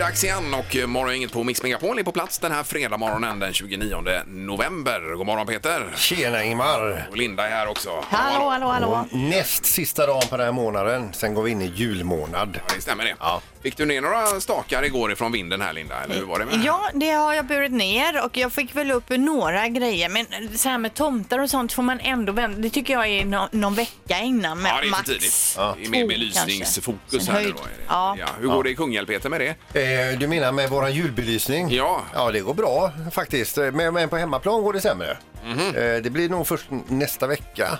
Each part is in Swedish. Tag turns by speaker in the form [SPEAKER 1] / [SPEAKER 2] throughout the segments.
[SPEAKER 1] dags igen och eh, Morgongänget på Mix Megapol är på plats den här fredag morgonen den 29 november. God morgon Peter!
[SPEAKER 2] Tjena Ingmar!
[SPEAKER 1] Och Linda är här också.
[SPEAKER 3] Hallå, hallå, hallå.
[SPEAKER 2] Näst sista dagen på den här månaden, sen går vi in i julmånad.
[SPEAKER 1] Det stämmer det.
[SPEAKER 2] Ja.
[SPEAKER 1] Fick du ner några stakar igår ifrån vinden här Linda? Eller hur var det med det?
[SPEAKER 3] Ja, det har jag burit ner och jag fick väl upp några grejer. Men så här med tomtar och sånt får man ändå vänta. Det tycker jag är no någon vecka innan. Men
[SPEAKER 1] Ja, det är för
[SPEAKER 3] max.
[SPEAKER 1] tidigt.
[SPEAKER 2] Ja.
[SPEAKER 1] Det är mer
[SPEAKER 3] Två,
[SPEAKER 1] belysningsfokus
[SPEAKER 3] kanske.
[SPEAKER 1] här nu
[SPEAKER 3] Höjd.
[SPEAKER 1] då. är det.
[SPEAKER 3] Ja.
[SPEAKER 1] Ja. Hur går det i Kungälv Peter med det?
[SPEAKER 2] Eh, du menar med våran julbelysning?
[SPEAKER 1] Ja.
[SPEAKER 2] Ja, det går bra faktiskt. Eh, Men, men på hemmaplan går det sämre. Eh, det blir nog först nästa vecka.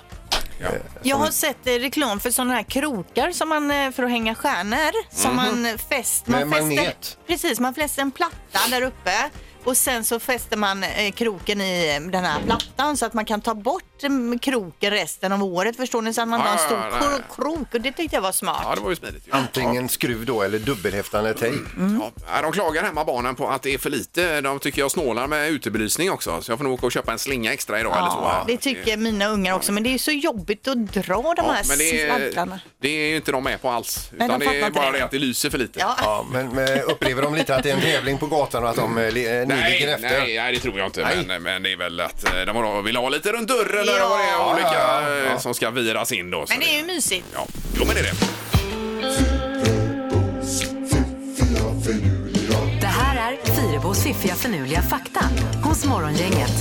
[SPEAKER 1] Ja.
[SPEAKER 3] Jag har sett eh, reklam för sådana här krokar som man, eh, för att hänga stjärnor. Som
[SPEAKER 1] Mhm.
[SPEAKER 3] man eh, fäst,
[SPEAKER 2] Med
[SPEAKER 3] man fäster-
[SPEAKER 2] magnet.
[SPEAKER 3] Precis, man fäster en platta där uppe. Och sen så fäster man eh, kroken i eh, den här plattan så att man kan ta bort eh, kroken resten av året. Förstår ni? Så att man har en
[SPEAKER 1] Ja,
[SPEAKER 3] stor
[SPEAKER 1] Ah, ja, ja,
[SPEAKER 3] kro- krok. Och det tyckte jag var smart.
[SPEAKER 1] Ja, det var ju smidigt. ju.
[SPEAKER 3] Mm.
[SPEAKER 2] Antingen skruv då eller dubbelhäftande tejp.
[SPEAKER 1] Ja. Ja, de klagar hemma barnen på att det är för lite. De tycker jag snålar med utebelysning också. Så jag får nog åka och köpa en slinga extra idag eller
[SPEAKER 3] Ja,
[SPEAKER 1] två.
[SPEAKER 3] det tycker mina ungar också, men det är så jobbigt att dra de
[SPEAKER 1] Ja,
[SPEAKER 3] här
[SPEAKER 1] men det, är-
[SPEAKER 3] sladdarna.
[SPEAKER 1] det är ju inte de med på alls.
[SPEAKER 3] de
[SPEAKER 1] Utan det
[SPEAKER 3] fattar
[SPEAKER 1] är
[SPEAKER 3] inte
[SPEAKER 1] bara
[SPEAKER 3] det.
[SPEAKER 1] det att det lyser för lite.
[SPEAKER 3] Ja.
[SPEAKER 2] Ja, men, men eh, upplever de lite att det är en tävling på gatan och att de eh, li- eh, nu ligger
[SPEAKER 1] Nej,
[SPEAKER 2] efter?
[SPEAKER 1] nej, nej, det tror jag inte.
[SPEAKER 2] Nej.
[SPEAKER 1] Men, men det är väl att eh, de har- vill ha lite runt dörren eller
[SPEAKER 3] Ja.
[SPEAKER 1] vad det är. Olika
[SPEAKER 2] Ja, ja, ja.
[SPEAKER 1] eh, som ska viras in då. Så
[SPEAKER 3] Men det är ju mysigt.
[SPEAKER 1] Ja, jo men det är det.
[SPEAKER 4] Det här är Fyrabos fiffiga förnuliga fakta hos Morgongänget.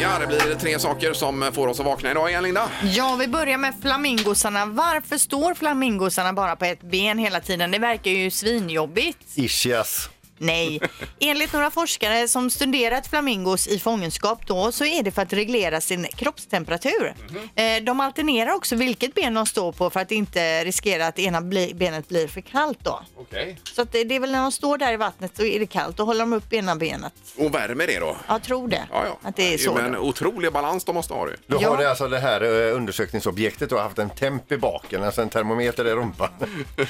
[SPEAKER 1] Ja, det blir tre saker som får oss att vakna idag igen, Linda.
[SPEAKER 3] Ja, vi börjar med flamingosarna. Varför står flamingosarna bara på ett ben hela tiden? Det verkar ju svinjobbigt.
[SPEAKER 2] Ischias.
[SPEAKER 3] Nej. Enligt några forskare som studerat flamingos i fångenskap då så är det för att reglera sin kroppstemperatur.
[SPEAKER 1] Mhm.
[SPEAKER 3] Eh, De alternerar också vilket ben de står på för att inte riskera att ena bli- benet blir för kallt då.
[SPEAKER 1] Okej.
[SPEAKER 3] Så att det, det är väl när de står där i vattnet så är det kallt. Då håller de upp ena benet.
[SPEAKER 1] Och värme det då.
[SPEAKER 3] Jag tror det.
[SPEAKER 1] Ja, ja.
[SPEAKER 3] Att det är så.
[SPEAKER 1] Men
[SPEAKER 3] då.
[SPEAKER 1] otrolig balans de måste ha det.
[SPEAKER 2] Då
[SPEAKER 3] Ja.
[SPEAKER 2] har det alltså det här eh, undersökningsobjektet då haft en temp i baken, alltså en termometer i rumpan.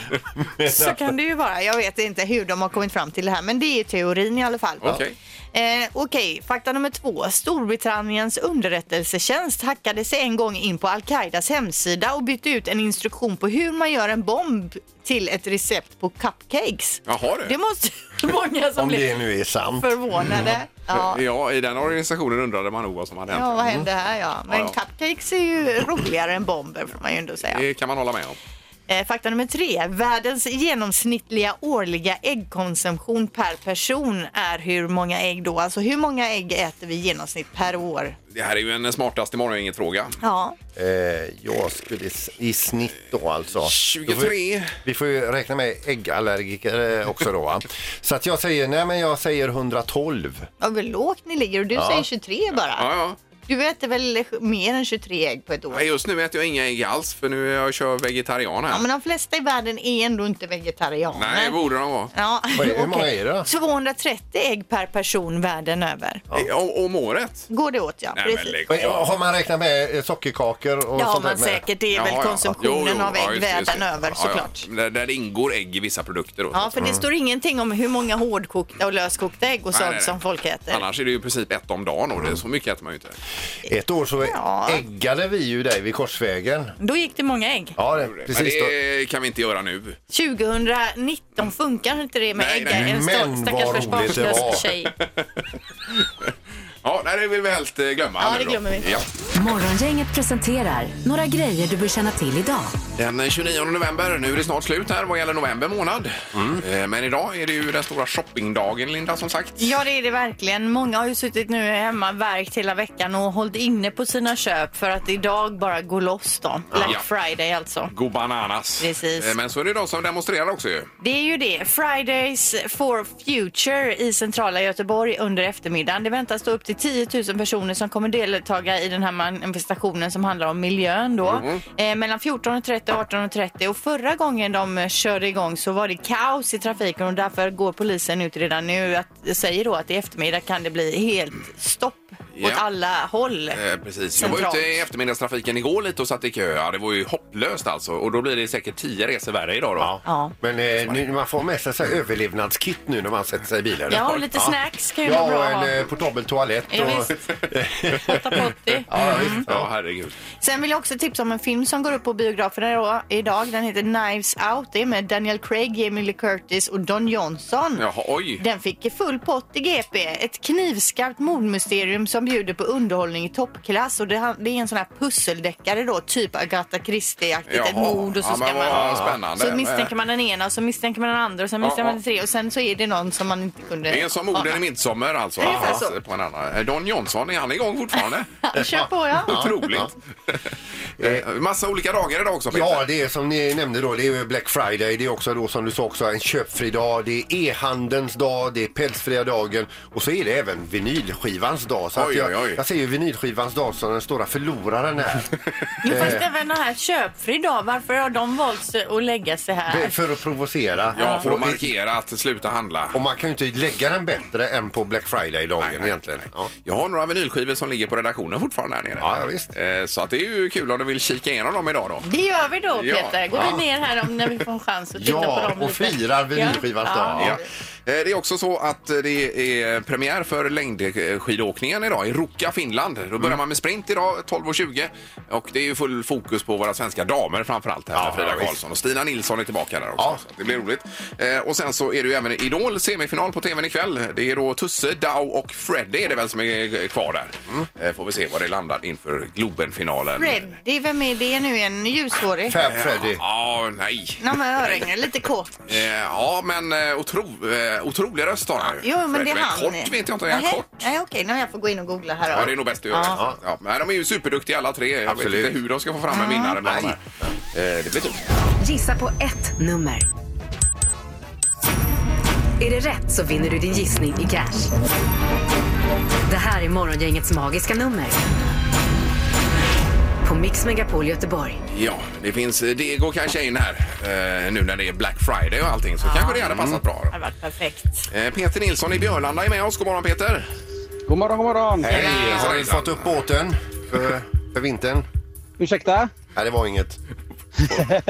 [SPEAKER 3] Så kan det ju vara. Jag vet inte hur de har kommit fram till det här, men det är teorin i alla fall.
[SPEAKER 1] Okej.
[SPEAKER 3] Eh, Okej, fakta nummer två. Storbritanniens underrättelsetjänst hackade sig en gång in på Al-Qaidas hemsida och bytte ut en instruktion på hur man gör en bomb till ett recept på cupcakes.
[SPEAKER 1] Jaha du.
[SPEAKER 3] Det måste många som
[SPEAKER 2] Om det
[SPEAKER 3] blir
[SPEAKER 2] nu är sant.
[SPEAKER 3] förvånade. Ja.
[SPEAKER 1] Ja, i den organisationen undrade man nog vad som hade hänt.
[SPEAKER 3] Ja, vad hände här ja. Men
[SPEAKER 1] Ja, ja.
[SPEAKER 3] cupcakes är ju roligare än bomber får man ju ändå säga.
[SPEAKER 1] Det kan man hålla med om.
[SPEAKER 3] Eh, Fakta nummer tre. Världens genomsnittliga årliga äggkonsumtion per person är hur många ägg då? Alltså hur många ägg äter vi i genomsnitt per år?
[SPEAKER 1] Det här är ju en smartast imorgon, inget fråga.
[SPEAKER 3] Ja,
[SPEAKER 2] Eh, jag skulle s- i snitt då alltså.
[SPEAKER 1] 23.
[SPEAKER 2] Då får vi, vi får ju räkna med äggallergiker eh, också då va. Så att jag säger, nej men jag säger 112.
[SPEAKER 3] vad väl lågt ni ligger och du säger 23 bara.
[SPEAKER 1] Ja, ja.
[SPEAKER 3] Du äter väl mer än 23 ägg på ett år?
[SPEAKER 1] Nej, Just nu äter jag inga ägg alls för nu är jag kör vegetarian här.
[SPEAKER 3] Ja, men de flesta i världen är ändå inte vegetarianer.
[SPEAKER 1] Nej, det borde de vara.
[SPEAKER 3] Ja,
[SPEAKER 2] Vad är- hur
[SPEAKER 3] okej.
[SPEAKER 2] många är det då?
[SPEAKER 3] 230 ägg per person världen över.
[SPEAKER 1] Ja. Eh, Om, om året?
[SPEAKER 3] Går det åt ja,
[SPEAKER 1] Nej, men
[SPEAKER 3] precis.
[SPEAKER 1] lägg
[SPEAKER 2] Och,
[SPEAKER 1] av.
[SPEAKER 2] eh, Har man räknat med eh, sockerkakor och
[SPEAKER 3] Det har
[SPEAKER 2] sånt där
[SPEAKER 3] man
[SPEAKER 2] med?
[SPEAKER 3] säkert. Det är
[SPEAKER 1] Jaha,
[SPEAKER 3] väl
[SPEAKER 1] ja.
[SPEAKER 3] konsumtionen
[SPEAKER 1] Jo, jo,
[SPEAKER 3] av ägg
[SPEAKER 1] ja, just det, just
[SPEAKER 3] världen
[SPEAKER 1] det.
[SPEAKER 3] över
[SPEAKER 1] Ja, ja.
[SPEAKER 3] såklart.
[SPEAKER 1] Där, där ingår ägg i vissa produkter. Då,
[SPEAKER 3] Ja, för det står ingenting om hur många hårdkokta och löskokta ägg och
[SPEAKER 1] Nej, nej,
[SPEAKER 3] sånt
[SPEAKER 1] nej.
[SPEAKER 3] som folk äter.
[SPEAKER 1] Annars är det ju i princip ett om dagen och det är så mycket äter man ju inte.
[SPEAKER 2] Ett år så
[SPEAKER 3] Ja.
[SPEAKER 2] äggade vi ju dig vid Korsvägen.
[SPEAKER 3] Då gick det många ägg.
[SPEAKER 2] Ja, det,
[SPEAKER 1] Men
[SPEAKER 2] precis. Då.
[SPEAKER 1] det kan vi inte göra nu.
[SPEAKER 3] 2019 funkar inte det med
[SPEAKER 1] Nej,
[SPEAKER 3] ägg.
[SPEAKER 1] nej.
[SPEAKER 2] Men
[SPEAKER 3] En sta-
[SPEAKER 2] vad
[SPEAKER 3] stackars
[SPEAKER 2] roligt det var.
[SPEAKER 3] försvarslös tjej.
[SPEAKER 1] Ja, nej, det vill vi helst eh, glömma.
[SPEAKER 3] Ja,
[SPEAKER 1] nu
[SPEAKER 3] det
[SPEAKER 1] då.
[SPEAKER 3] glömmer vi.
[SPEAKER 1] Ja.
[SPEAKER 4] Morgongänget presenterar några grejer du bör känna till idag.
[SPEAKER 1] Den eh, 29 november, nu är det snart slut här vad gäller november månad.
[SPEAKER 2] Mm.
[SPEAKER 1] Eh, Men idag är det ju den stora shoppingdagen, Linda, som sagt.
[SPEAKER 3] Ja, det är det verkligen. Många har ju suttit nu hemma verkt hela veckan och hållit inne på sina köp för att idag bara gå loss då. Black
[SPEAKER 1] Ja.
[SPEAKER 3] Friday alltså.
[SPEAKER 1] Go bananas.
[SPEAKER 3] Precis.
[SPEAKER 1] Eh, Men så är det ju de som demonstrerar också ju.
[SPEAKER 3] Det är ju det. Fridays for Future i centrala Göteborg under eftermiddagen. Det väntas stå upp till 10 000 personer som kommer deltaga i den här manifestationen som handlar om miljön då.
[SPEAKER 1] Mm.
[SPEAKER 3] Eh, mellan 14.30 och 18.30 och förra gången de eh, körde igång så var det kaos i trafiken och därför går polisen ut redan nu att säger då att i eftermiddag kan det bli helt stopp
[SPEAKER 1] Ja.
[SPEAKER 3] åt alla håll.
[SPEAKER 1] Eh, precis. Jag var
[SPEAKER 3] Centralt.
[SPEAKER 1] ute i eftermiddagstrafiken igår lite och satt i kö. Ja, det var ju hopplöst alltså. Och då blir det säkert tio resor värre idag då.
[SPEAKER 2] Ja.
[SPEAKER 3] Ja.
[SPEAKER 2] Men eh, nu, man får med sig så här överlevnadskit nu när man sätter sig i bilen.
[SPEAKER 3] Ja, och lite snacks kan ju
[SPEAKER 2] Ja,
[SPEAKER 3] vara bra
[SPEAKER 2] och
[SPEAKER 3] att ha.
[SPEAKER 2] en eh, portabel toalett.
[SPEAKER 3] Ja,
[SPEAKER 2] och...
[SPEAKER 3] visst. Hotta potti.
[SPEAKER 2] ja, visst.
[SPEAKER 1] Ja,
[SPEAKER 2] Ja.
[SPEAKER 1] herregud.
[SPEAKER 3] Sen vill jag också tipsa om en film som går upp på biograferna då- idag. Den heter Knives Out. Det är med Daniel Craig, Jamie Lee Curtis och Don Johnson.
[SPEAKER 1] Jaha, oj.
[SPEAKER 3] Den fick full pott i GP. Ett knivskarpt mordmysterium som bjuder på underhållning i toppklass. Och det, han- det är en sån här pusseldeckare då, typ Agatha Christie-aktigt. Ett
[SPEAKER 1] Jaha.
[SPEAKER 3] mord och så
[SPEAKER 1] Ja,
[SPEAKER 3] ska
[SPEAKER 1] men
[SPEAKER 3] man...
[SPEAKER 1] vad spännande.
[SPEAKER 3] Så misstänker man den ena och så misstänker man den andra och sen misstänker
[SPEAKER 1] Ja,
[SPEAKER 3] man den tredje och sen så är det någon som man inte kunde...
[SPEAKER 1] Det är som orden i midsommar alltså.
[SPEAKER 3] Ungefär
[SPEAKER 1] Ja,
[SPEAKER 3] så.
[SPEAKER 1] På en annan. Eh, Don Johnson, är han igång fortfarande?
[SPEAKER 3] Ja, Kör på ja.
[SPEAKER 1] Otroligt. Eh, Massa olika dagar idag också Peter.
[SPEAKER 2] Ja, det är som ni nämnde då, det är ju Black Friday, det är också då som du sa också en köpfri dag, det är e-handelns dag, det är pälsfria dagen och så är det även vinylskivans dag. Så
[SPEAKER 1] Oj,
[SPEAKER 2] att jag,
[SPEAKER 1] oj, oj.
[SPEAKER 2] jag ser ju vinylskivans dag som den stora förloraren här.
[SPEAKER 3] Jo, fast även den här köpfri dag, varför har de valt att lägga sig
[SPEAKER 2] Det är
[SPEAKER 3] här?
[SPEAKER 2] Eh, för att provocera.
[SPEAKER 1] Ja, för att
[SPEAKER 2] Och-
[SPEAKER 1] markera att sluta handla.
[SPEAKER 2] Och man kan ju inte lägga den bättre än på Black
[SPEAKER 1] Nej,
[SPEAKER 2] Friday-dagen
[SPEAKER 1] nej,
[SPEAKER 2] egentligen. Ja.
[SPEAKER 1] Jag har några vinylskivor som ligger på redaktionen fortfarande här nere.
[SPEAKER 2] Ja, ja, visst.
[SPEAKER 1] Eh, Så att det är ju kul om du vill kika igenom dem idag då.
[SPEAKER 3] Det gör vi då
[SPEAKER 1] Ja.
[SPEAKER 3] Peter. Går vi ner här om, när vi får en chans att titta på
[SPEAKER 2] Ja,
[SPEAKER 3] dem
[SPEAKER 2] och
[SPEAKER 3] lite.
[SPEAKER 2] firar vinylskivans
[SPEAKER 3] Ja.
[SPEAKER 2] dag.
[SPEAKER 1] Ja. Eh, Det är också så att eh, det är premiär för längdskidåkningen idag i Ruka, Finland. Då
[SPEAKER 2] Mm.
[SPEAKER 1] börjar man med sprint idag 12.20 och det är ju full fokus på våra svenska damer framförallt här
[SPEAKER 2] Ja,
[SPEAKER 1] med Frida
[SPEAKER 2] ja, visst.
[SPEAKER 1] Karlsson och Stina Nilsson är tillbaka där också.
[SPEAKER 2] Ja.
[SPEAKER 1] Så det blir roligt. Eh, Och sen så är det ju även Idol semifinal på tvn ikväll. Det är då Tusse, Dao och Freddy är det väl som är kvar där.
[SPEAKER 2] Mm.
[SPEAKER 1] Eh, Får vi se var det landar inför Globenfinalen.
[SPEAKER 3] Freddy, vem är det nu igen? Ljushårig?
[SPEAKER 2] Fab Freddy.
[SPEAKER 1] Ja, nej.
[SPEAKER 3] Nej men örhängen, lite kort.
[SPEAKER 1] Eh, Ja, men eh, otro, eh, otrolig röst har han ju.
[SPEAKER 3] Jo, men det är han.
[SPEAKER 1] Kort vet jag inte, är han
[SPEAKER 3] Nej,
[SPEAKER 1] kort?
[SPEAKER 3] Nej, okej, nu jag får gå in och googla här. då.
[SPEAKER 1] Ja, det är nog bäst du gör det.
[SPEAKER 3] Ja.
[SPEAKER 1] Ja, men de är ju superduktiga alla tre. Jag
[SPEAKER 2] Absolut.
[SPEAKER 1] vet inte hur de ska få fram en vinnare. bland de här. Eh, det blir tufft.
[SPEAKER 4] Gissa på ett nummer. Är det rätt så vinner du din gissning i cash. Det här är Morgongängets magiska nummer. På Mix Megapol Göteborg.
[SPEAKER 1] Ja, det finns eh, Diego kanske in här eh, nu när det är Black Friday och allting så kanske det hade passat bra.
[SPEAKER 3] Det har varit perfekt.
[SPEAKER 1] Eh, Peter Nilsson i Björlanda är med oss. God morgon Peter!
[SPEAKER 5] God morgon, god morgon.
[SPEAKER 2] Hej,
[SPEAKER 1] Hejsan,
[SPEAKER 2] har du
[SPEAKER 1] hejsan.
[SPEAKER 2] fått upp båten för, för vintern?
[SPEAKER 5] Ursäkta?
[SPEAKER 2] Nej, det var inget.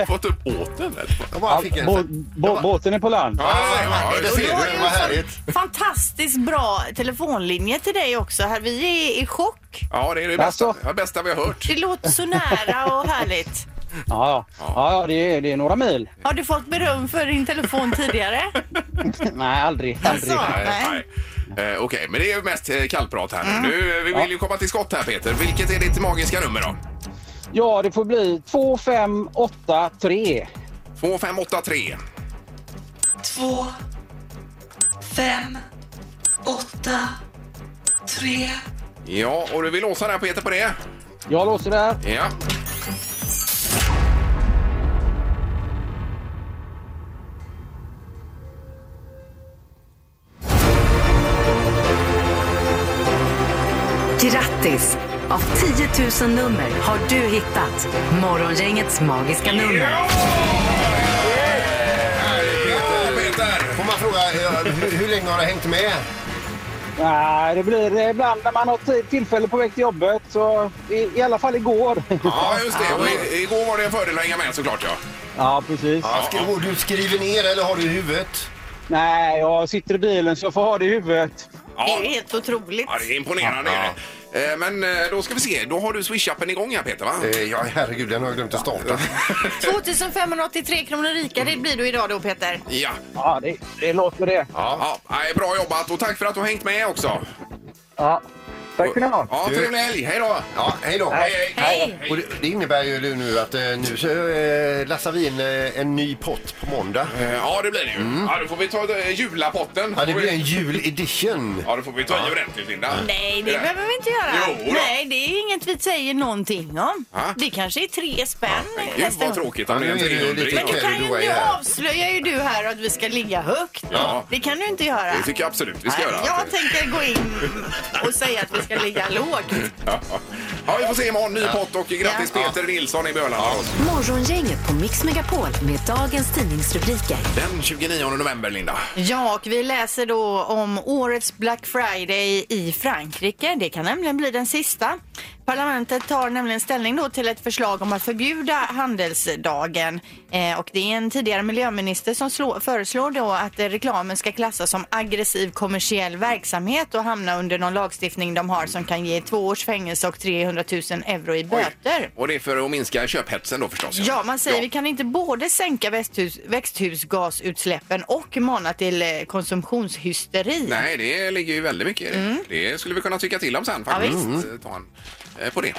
[SPEAKER 1] Fått upp båten eller?
[SPEAKER 2] Jag bara fick en...
[SPEAKER 5] Bå, bå, båten är på land.
[SPEAKER 1] Ja,
[SPEAKER 2] Ja, det
[SPEAKER 1] just
[SPEAKER 2] ser
[SPEAKER 1] det.
[SPEAKER 3] Jag har ju
[SPEAKER 2] du, vad
[SPEAKER 3] en sån
[SPEAKER 2] härligt.
[SPEAKER 3] Fantastiskt bra telefonlinje till dig också. Här, vi är i chock.
[SPEAKER 1] Ja, det är det bästa,
[SPEAKER 5] Alltså.
[SPEAKER 1] ja, bästa vi har hört.
[SPEAKER 3] Det låter så nära och härligt.
[SPEAKER 5] Ja, ja ja, det, är, det är några mil.
[SPEAKER 3] Har du fått beröm för din telefon tidigare?
[SPEAKER 5] Nej, aldrig. aldrig.
[SPEAKER 3] Alltså. Nej.
[SPEAKER 1] Nej. nej. Eh, Okej, men det är ju mest eh, kallprat här nu. nu. eh, Vi vill ju komma till skott här Peter. Vilket är ditt magiska nummer då?
[SPEAKER 5] Ja, det får bli 2583.
[SPEAKER 1] 2583.
[SPEAKER 6] två, fem, åtta, tre.
[SPEAKER 1] Ja, och du vill låsa där Peter på det?
[SPEAKER 5] Jag låser där.
[SPEAKER 1] Ja.
[SPEAKER 4] Grattis! Av 10 000 nummer har du hittat Morgongängets magiska nummer.
[SPEAKER 1] Ja, Peter!
[SPEAKER 2] Får man fråga, eh, hur, hur länge har du hängt med?
[SPEAKER 5] Nej, det blir eh, ibland när man har tid- tillfälle på väg till jobbet. Så i, I alla fall igår.
[SPEAKER 1] Ja, just det. Och i- igår var det en fördel att hänga med såklart, ja.
[SPEAKER 5] Ja, precis.
[SPEAKER 2] Ja, skri- och du skriver ner eller har du i huvudet?
[SPEAKER 5] Nej, jag sitter i bilen så jag får ha det i huvudet.
[SPEAKER 3] Det är
[SPEAKER 1] Ja,
[SPEAKER 3] ju helt otroligt.
[SPEAKER 1] ja det är imponerande. är det. Eh, Men eh, då ska vi se. Då har du Swish-appen igång här, Peter, va?
[SPEAKER 2] Eh, ja, herregud, den har jag glömt att starta.
[SPEAKER 3] 2583 kronor rikare blir du idag då Peter.
[SPEAKER 1] Ja.
[SPEAKER 5] Ja, det, det låter det.
[SPEAKER 1] ja. nej, Bra jobbat och tack för att du har hängt med också.
[SPEAKER 5] Ja. Tack ska ni ha.
[SPEAKER 1] Ja,
[SPEAKER 2] Du-
[SPEAKER 1] trevlig helg. Hej då!
[SPEAKER 2] Ja, hej då.
[SPEAKER 1] Hej, hej.
[SPEAKER 2] Och det, det innebär ju nu att eh, nu så, eh, lassar vi in eh, en ny pott på måndag.
[SPEAKER 1] Eh, Ja, det blir det ju. Ja, då får vi ta eh, julapotten.
[SPEAKER 2] Ja, det blir en juledition.
[SPEAKER 1] Ja, då får vi ta i ordentligt, Linda.
[SPEAKER 3] Nej, det behöver vi inte göra.
[SPEAKER 1] Jo då.
[SPEAKER 3] Nej, det är inget vi säger någonting om.
[SPEAKER 1] Va?
[SPEAKER 3] Det kanske är tre spänn
[SPEAKER 1] Men Gud,
[SPEAKER 3] nästa
[SPEAKER 1] vad
[SPEAKER 3] gång.
[SPEAKER 1] tråkigt om det är en
[SPEAKER 2] Ja, nu är det ju
[SPEAKER 1] 300
[SPEAKER 2] lite
[SPEAKER 3] Men du
[SPEAKER 2] Okej,
[SPEAKER 3] kan ju,
[SPEAKER 2] då är
[SPEAKER 3] nu
[SPEAKER 2] jag här.
[SPEAKER 3] avslöjar ju du här att vi ska ligga högt.
[SPEAKER 1] Ja.
[SPEAKER 3] Det kan du inte göra.
[SPEAKER 1] Det tycker jag absolut vi ska
[SPEAKER 3] Nej,
[SPEAKER 1] göra.
[SPEAKER 3] Jag tänker gå in och säga att vi ska ligga lågt.
[SPEAKER 1] Ja, ja. ja, vi får se imorgon. Ny pott och grattis Peter Nilsson i Björlanda.
[SPEAKER 4] Morgongänget på Mix Megapol med dagens tidningsrubriker.
[SPEAKER 1] Den 29 november, Linda.
[SPEAKER 3] Ja, och vi läser då om årets Black Friday i Frankrike. Det kan nämligen bli den sista. Parlamentet tar nämligen ställning då till ett förslag om att förbjuda handelsdagen. Eh, och det är en tidigare miljöminister som slå, föreslår då att eh, reklamen ska klassas som aggressiv kommersiell verksamhet och hamna under någon lagstiftning de har som kan ge två års fängelse och 300 000 euro i böter.
[SPEAKER 1] Och det är för att minska köphetsen då förstås.
[SPEAKER 3] Ja, man säger vi kan inte både sänka växthus, växthusgasutsläppen och mana till eh, konsumtionshysteri.
[SPEAKER 1] Nej, det ligger ju väldigt mycket i det. Det skulle vi kunna tycka till om sen faktiskt.
[SPEAKER 3] Mm. Ja,
[SPEAKER 1] Eh, Ta en, eh, på det.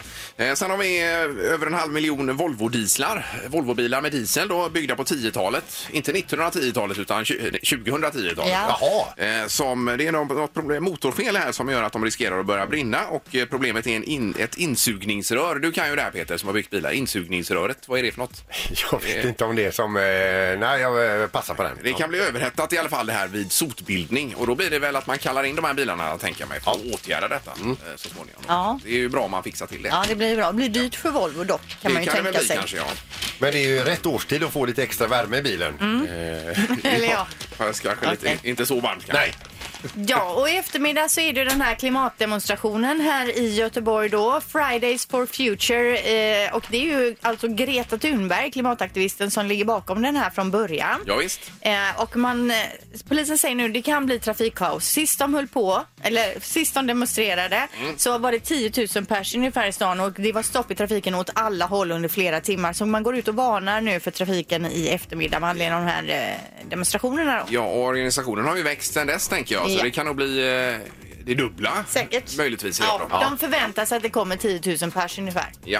[SPEAKER 1] Eh, Sen har vi eh, över en halv miljon Volvo-dieslar. Volvobilar med diesel då, byggda på 10-talet. Inte 1910-talet utan tju- eh, 2010-talet.
[SPEAKER 3] Ja.
[SPEAKER 1] Eh, Som, det är något något problem, motorfel här som gör att de riskerar att börja brinna och eh, problemet är en in, ett insugningsrör. Du kan ju det här Peter som har byggt bilar. Insugningsröret, vad är det för något?
[SPEAKER 2] Jag vet inte om det är som... Eh, nej, jag eh, passar på den.
[SPEAKER 1] Det kan bli överhettat i alla fall det här vid sotbildning och då blir det väl att man kallar in de här bilarna tänker jag mig för att åtgärda detta eh, så småningom.
[SPEAKER 3] Ja.
[SPEAKER 1] Det är ju bra om man fixar till det.
[SPEAKER 3] Ja, det blir bra. Det blir dyrt för Volvo dock, kan
[SPEAKER 1] det
[SPEAKER 3] man ju
[SPEAKER 1] kan det
[SPEAKER 3] tänka
[SPEAKER 1] väl bli
[SPEAKER 3] sig.
[SPEAKER 1] kanske ja.
[SPEAKER 2] Men det är ju rätt årstid att få lite extra värme i bilen. Eh,
[SPEAKER 3] Eller ja.
[SPEAKER 1] Fast kanske
[SPEAKER 3] Okej.
[SPEAKER 1] lite, inte så varmt kanske. Nej.
[SPEAKER 3] ja, och i eftermiddag så är det den här klimatdemonstrationen här i Göteborg då. Fridays for Future. Eh, och det är ju alltså Greta Thunberg, klimataktivisten, som ligger bakom den här från början.
[SPEAKER 1] Ja, visst.
[SPEAKER 3] Eh, och man, eh, polisen säger nu det kan bli trafikkaos. Sist de höll på, eller sist de demonstrerade,
[SPEAKER 1] Mm.
[SPEAKER 3] så var det 10 000 pers ungefär i stan och det var stopp i trafiken åt alla håll under flera timmar. Så man går ut och varnar nu för trafiken i eftermiddag med anledning av de här eh, demonstrationerna. Då.
[SPEAKER 1] Ja, och organisationen har ju växt sedan dess tänker jag så
[SPEAKER 3] Ja.
[SPEAKER 1] det kan nog bli eh, det dubbla.
[SPEAKER 3] Säkert.
[SPEAKER 1] Möjligtvis.
[SPEAKER 3] Ja,
[SPEAKER 1] Ja.
[SPEAKER 3] de förväntar sig att det kommer 10 000 pers ungefär.
[SPEAKER 1] Ja.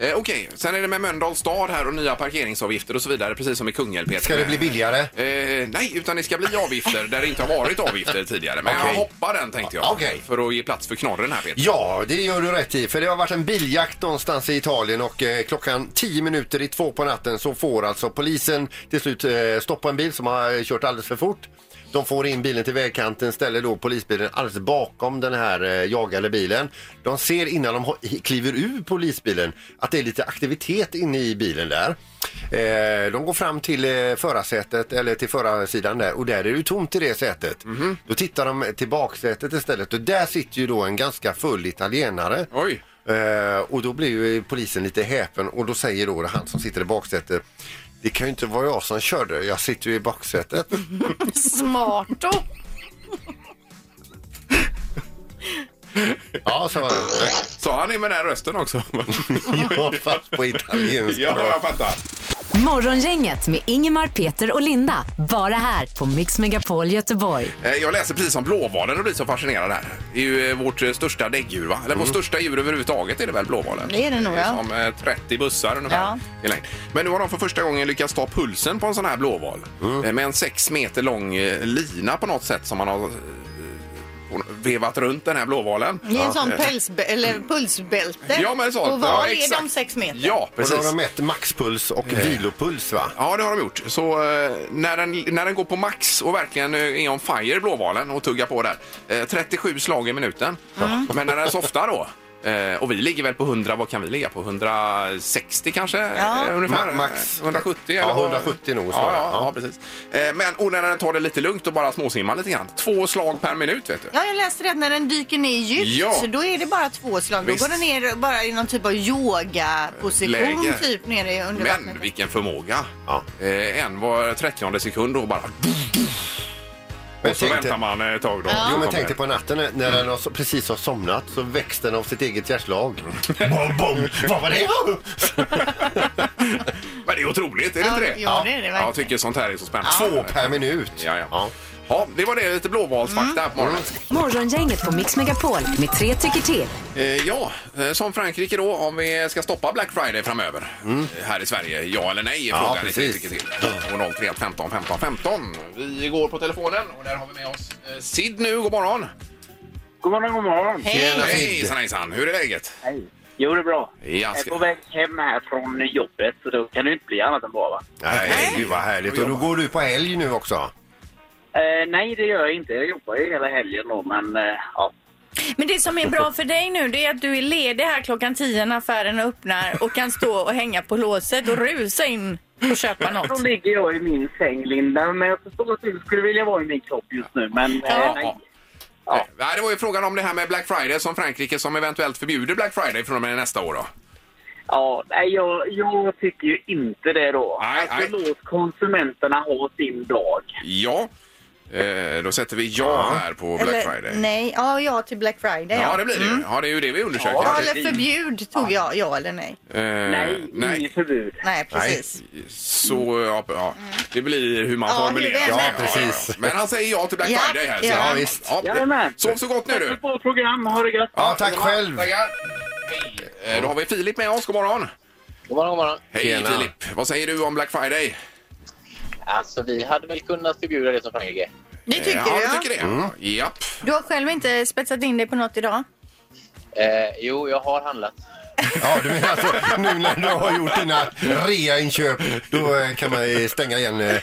[SPEAKER 1] Eh, Okej, sen är det med Mölndals stad här och nya parkeringsavgifter och så vidare precis som i Kungälv Peter.
[SPEAKER 2] Ska det bli billigare?
[SPEAKER 1] Eh, nej, utan det ska bli avgifter där det inte har varit avgifter tidigare. Men jag
[SPEAKER 2] Okej.
[SPEAKER 1] hoppar den tänkte jag.
[SPEAKER 2] Okej.
[SPEAKER 1] För att ge plats för knorren här Peter.
[SPEAKER 2] Ja, det gör du rätt i. För det har varit en biljakt någonstans i Italien och eh, klockan 10 minuter i två på natten så får alltså polisen till slut eh, stoppa en bil som har eh, kört alldeles för fort. De får in bilen till vägkanten, ställer då polisbilen alldeles bakom den här eh, jagade bilen. De ser innan de ho- kliver ur polisbilen att det är lite aktivitet inne i bilen där. Eh, de går fram till eh, förarsätet eller till förarsidan där och där är det ju tomt i det sätet.
[SPEAKER 1] Mhm.
[SPEAKER 2] Då tittar de till baksätet istället och där sitter ju då en ganska full italienare.
[SPEAKER 1] Oj.
[SPEAKER 2] Eh, och då blir ju polisen lite häpen och då säger då han som sitter i baksätet det kan ju inte vara jag som körde, jag sitter ju i baksätet.
[SPEAKER 3] Smarto!
[SPEAKER 2] ja, så var det.
[SPEAKER 1] Sa han det med den här rösten också?
[SPEAKER 2] Ja, fast på italienska.
[SPEAKER 1] ja, jag fattar.
[SPEAKER 4] Morgongänget med Ingemar, Peter och Linda. Bara här på Mix Megapol Göteborg.
[SPEAKER 1] Eh, Jag läser precis om blåvalen och blir så fascinerad här. Det är ju eh, vårt eh, största däggdjur va? Eller vårt största djur överhuvudtaget är det väl blåvalen?
[SPEAKER 3] Mm. Det är det nog, ja.
[SPEAKER 1] Som eh, 30 bussar ungefär
[SPEAKER 3] Ja.
[SPEAKER 1] i längd. Men nu har de för första gången lyckats ta pulsen på en sån här blåval.
[SPEAKER 3] Mm.
[SPEAKER 1] Eh, Med en sex meter lång eh, lina på något sätt som man har eh, vevat runt den här blåvalen.
[SPEAKER 3] Det är en sån päls, eller pulsbälte.
[SPEAKER 1] Ja, men sånt.
[SPEAKER 3] Och var
[SPEAKER 1] ja,
[SPEAKER 3] är
[SPEAKER 1] exakt.
[SPEAKER 3] de sex meter?
[SPEAKER 1] Ja,
[SPEAKER 2] Och
[SPEAKER 1] precis. Eh.
[SPEAKER 2] då har de mätt maxpuls och vilopuls va?
[SPEAKER 1] Ja, det har de gjort. Så eh, när, den, när den går på max och verkligen eh, är on fire, blåvalen, och tuggar på där. Eh, 37 slag i minuten. Men när den softar då. eh, Och vi ligger väl på 100, vad kan vi ligga på? 160 kanske?
[SPEAKER 3] Ja.
[SPEAKER 1] Eh, Ungefär?
[SPEAKER 2] Ma- max.
[SPEAKER 1] 170?
[SPEAKER 2] Ja,
[SPEAKER 1] eller vad?
[SPEAKER 2] 170 nog
[SPEAKER 1] Ja,
[SPEAKER 2] snarare.
[SPEAKER 1] ja, ja.
[SPEAKER 2] Ja.
[SPEAKER 1] precis. Eh, Men och när den tar det lite lugnt och bara småsimmar lite grann. Två slag per minut vet du.
[SPEAKER 3] Ja, jag läste det att när den dyker ner djupt
[SPEAKER 1] Ja.
[SPEAKER 3] så då är det bara två slag.
[SPEAKER 1] Visst.
[SPEAKER 3] Då går den ner bara i någon typ av yogaposition
[SPEAKER 1] Läge.
[SPEAKER 3] typ nere under
[SPEAKER 1] Men
[SPEAKER 3] vattnet.
[SPEAKER 1] vilken förmåga!
[SPEAKER 2] Ja.
[SPEAKER 1] Eh, En var 30 sekund och bara...
[SPEAKER 2] Men
[SPEAKER 1] Och så
[SPEAKER 2] tänk dig-
[SPEAKER 1] väntar man eh, ett tag då.
[SPEAKER 2] Jo,
[SPEAKER 1] Då
[SPEAKER 2] men
[SPEAKER 1] kommer
[SPEAKER 2] tänk dig på natten när när den har, so- precis har somnat så väcks den av sitt eget hjärtslag. bom, bom. Vad var det?
[SPEAKER 1] Men det är otroligt, är det
[SPEAKER 3] Ja,
[SPEAKER 1] inte det?
[SPEAKER 3] jo, det är det verkligen.
[SPEAKER 1] Jag tycker sånt här är så spännande.
[SPEAKER 2] Två per minut.
[SPEAKER 1] Ja, ja. ja. det var det. Lite blåvalsfakta
[SPEAKER 3] Mm.
[SPEAKER 1] på morgonen.
[SPEAKER 4] Morgongänget på Mix Megapol med tre tycker till.
[SPEAKER 1] Eh, ja, eh, som Frankrike då, om vi ska stoppa Black Friday framöver eh, här i Sverige. Ja eller nej är
[SPEAKER 2] Mm. Ja,
[SPEAKER 1] frågan.
[SPEAKER 2] precis.
[SPEAKER 1] Lite till. Och 031 15 15 15. Vi går på telefonen och där har vi med oss eh, Sid nu. God morgon!
[SPEAKER 5] God morgon, god morgon.
[SPEAKER 2] Tjena, Sid.
[SPEAKER 1] Hejsan hejsan! Hur är läget?
[SPEAKER 5] Hej. Jo, det är bra.
[SPEAKER 1] Ja,
[SPEAKER 5] Jag är
[SPEAKER 1] ska-
[SPEAKER 5] på väg hem här från jobbet, så då kan det inte bli annat än bra, va?
[SPEAKER 2] Nej, gud vad härligt. Och då går du på helg nu också.
[SPEAKER 5] Eh, nej, det gör jag inte. Jag jobbar ju hela helgen då, men eh, ja,
[SPEAKER 3] Men det som är bra för dig nu det är att du är ledig här klockan 10 när affären öppnar och kan stå och hänga på låset och rusa in och köpa något.
[SPEAKER 7] Då ligger jag i min säng, Linda. Men jag förstår att du skulle vilja vara i min kropp just nu. Men, eh, nej.
[SPEAKER 1] Ja. Nej, Det var ju frågan om det här med Black Friday som Frankrike som eventuellt förbjuder Black Friday från och med nästa år. Då.
[SPEAKER 7] Ja, nej, jag, jag tycker ju inte det då.
[SPEAKER 1] Nej,
[SPEAKER 7] alltså,
[SPEAKER 1] nej.
[SPEAKER 7] låt konsumenterna ha sin dag.
[SPEAKER 1] Ja, eh, då sätter vi ja här på Black Friday.
[SPEAKER 3] nej, ja, ja till Black Friday.
[SPEAKER 1] Ja, det blir det ju. Ja, det är ju det vi undersöker.
[SPEAKER 3] Ja, eller förbjud tog jag, ja eller nej.
[SPEAKER 1] Eh,
[SPEAKER 7] Nej,
[SPEAKER 1] nej.
[SPEAKER 7] inget förbud.
[SPEAKER 3] Nej, precis. Mm.
[SPEAKER 1] Så, ja, ja. Det blir hur man
[SPEAKER 3] Ja,
[SPEAKER 1] formulerar
[SPEAKER 3] hur det är.
[SPEAKER 1] sig.
[SPEAKER 3] Ja,
[SPEAKER 2] precis.
[SPEAKER 1] Men han säger ja till Black
[SPEAKER 3] Ja,
[SPEAKER 1] Friday här. så-
[SPEAKER 3] ja.
[SPEAKER 2] Ja, visst.
[SPEAKER 7] Jajamän.
[SPEAKER 1] Sov så gott nu
[SPEAKER 7] Tack för
[SPEAKER 1] du.
[SPEAKER 7] ett bra program. Ha det gött.
[SPEAKER 2] Ja, tack själv.
[SPEAKER 1] Tackar. Hej. Eh, Då har vi Filip med oss. God morgon.
[SPEAKER 8] God morgon, god morgon.
[SPEAKER 1] Hej
[SPEAKER 2] Tjena.
[SPEAKER 1] Filip. Vad säger du om Black Friday?
[SPEAKER 8] Alltså, vi hade väl kunnat förbjuda det som Frankrike.
[SPEAKER 3] Det tycker
[SPEAKER 1] Eh,
[SPEAKER 3] du
[SPEAKER 1] ja?
[SPEAKER 3] ja.
[SPEAKER 1] tycker det.
[SPEAKER 2] Mm.
[SPEAKER 1] Japp.
[SPEAKER 3] Du har själv inte spetsat in dig på något idag?
[SPEAKER 8] Eh, jo, jag har handlat.
[SPEAKER 2] Ja, du menar alltså nu när du har gjort dina reainköp då eh, kan man eh, stänga igen eh,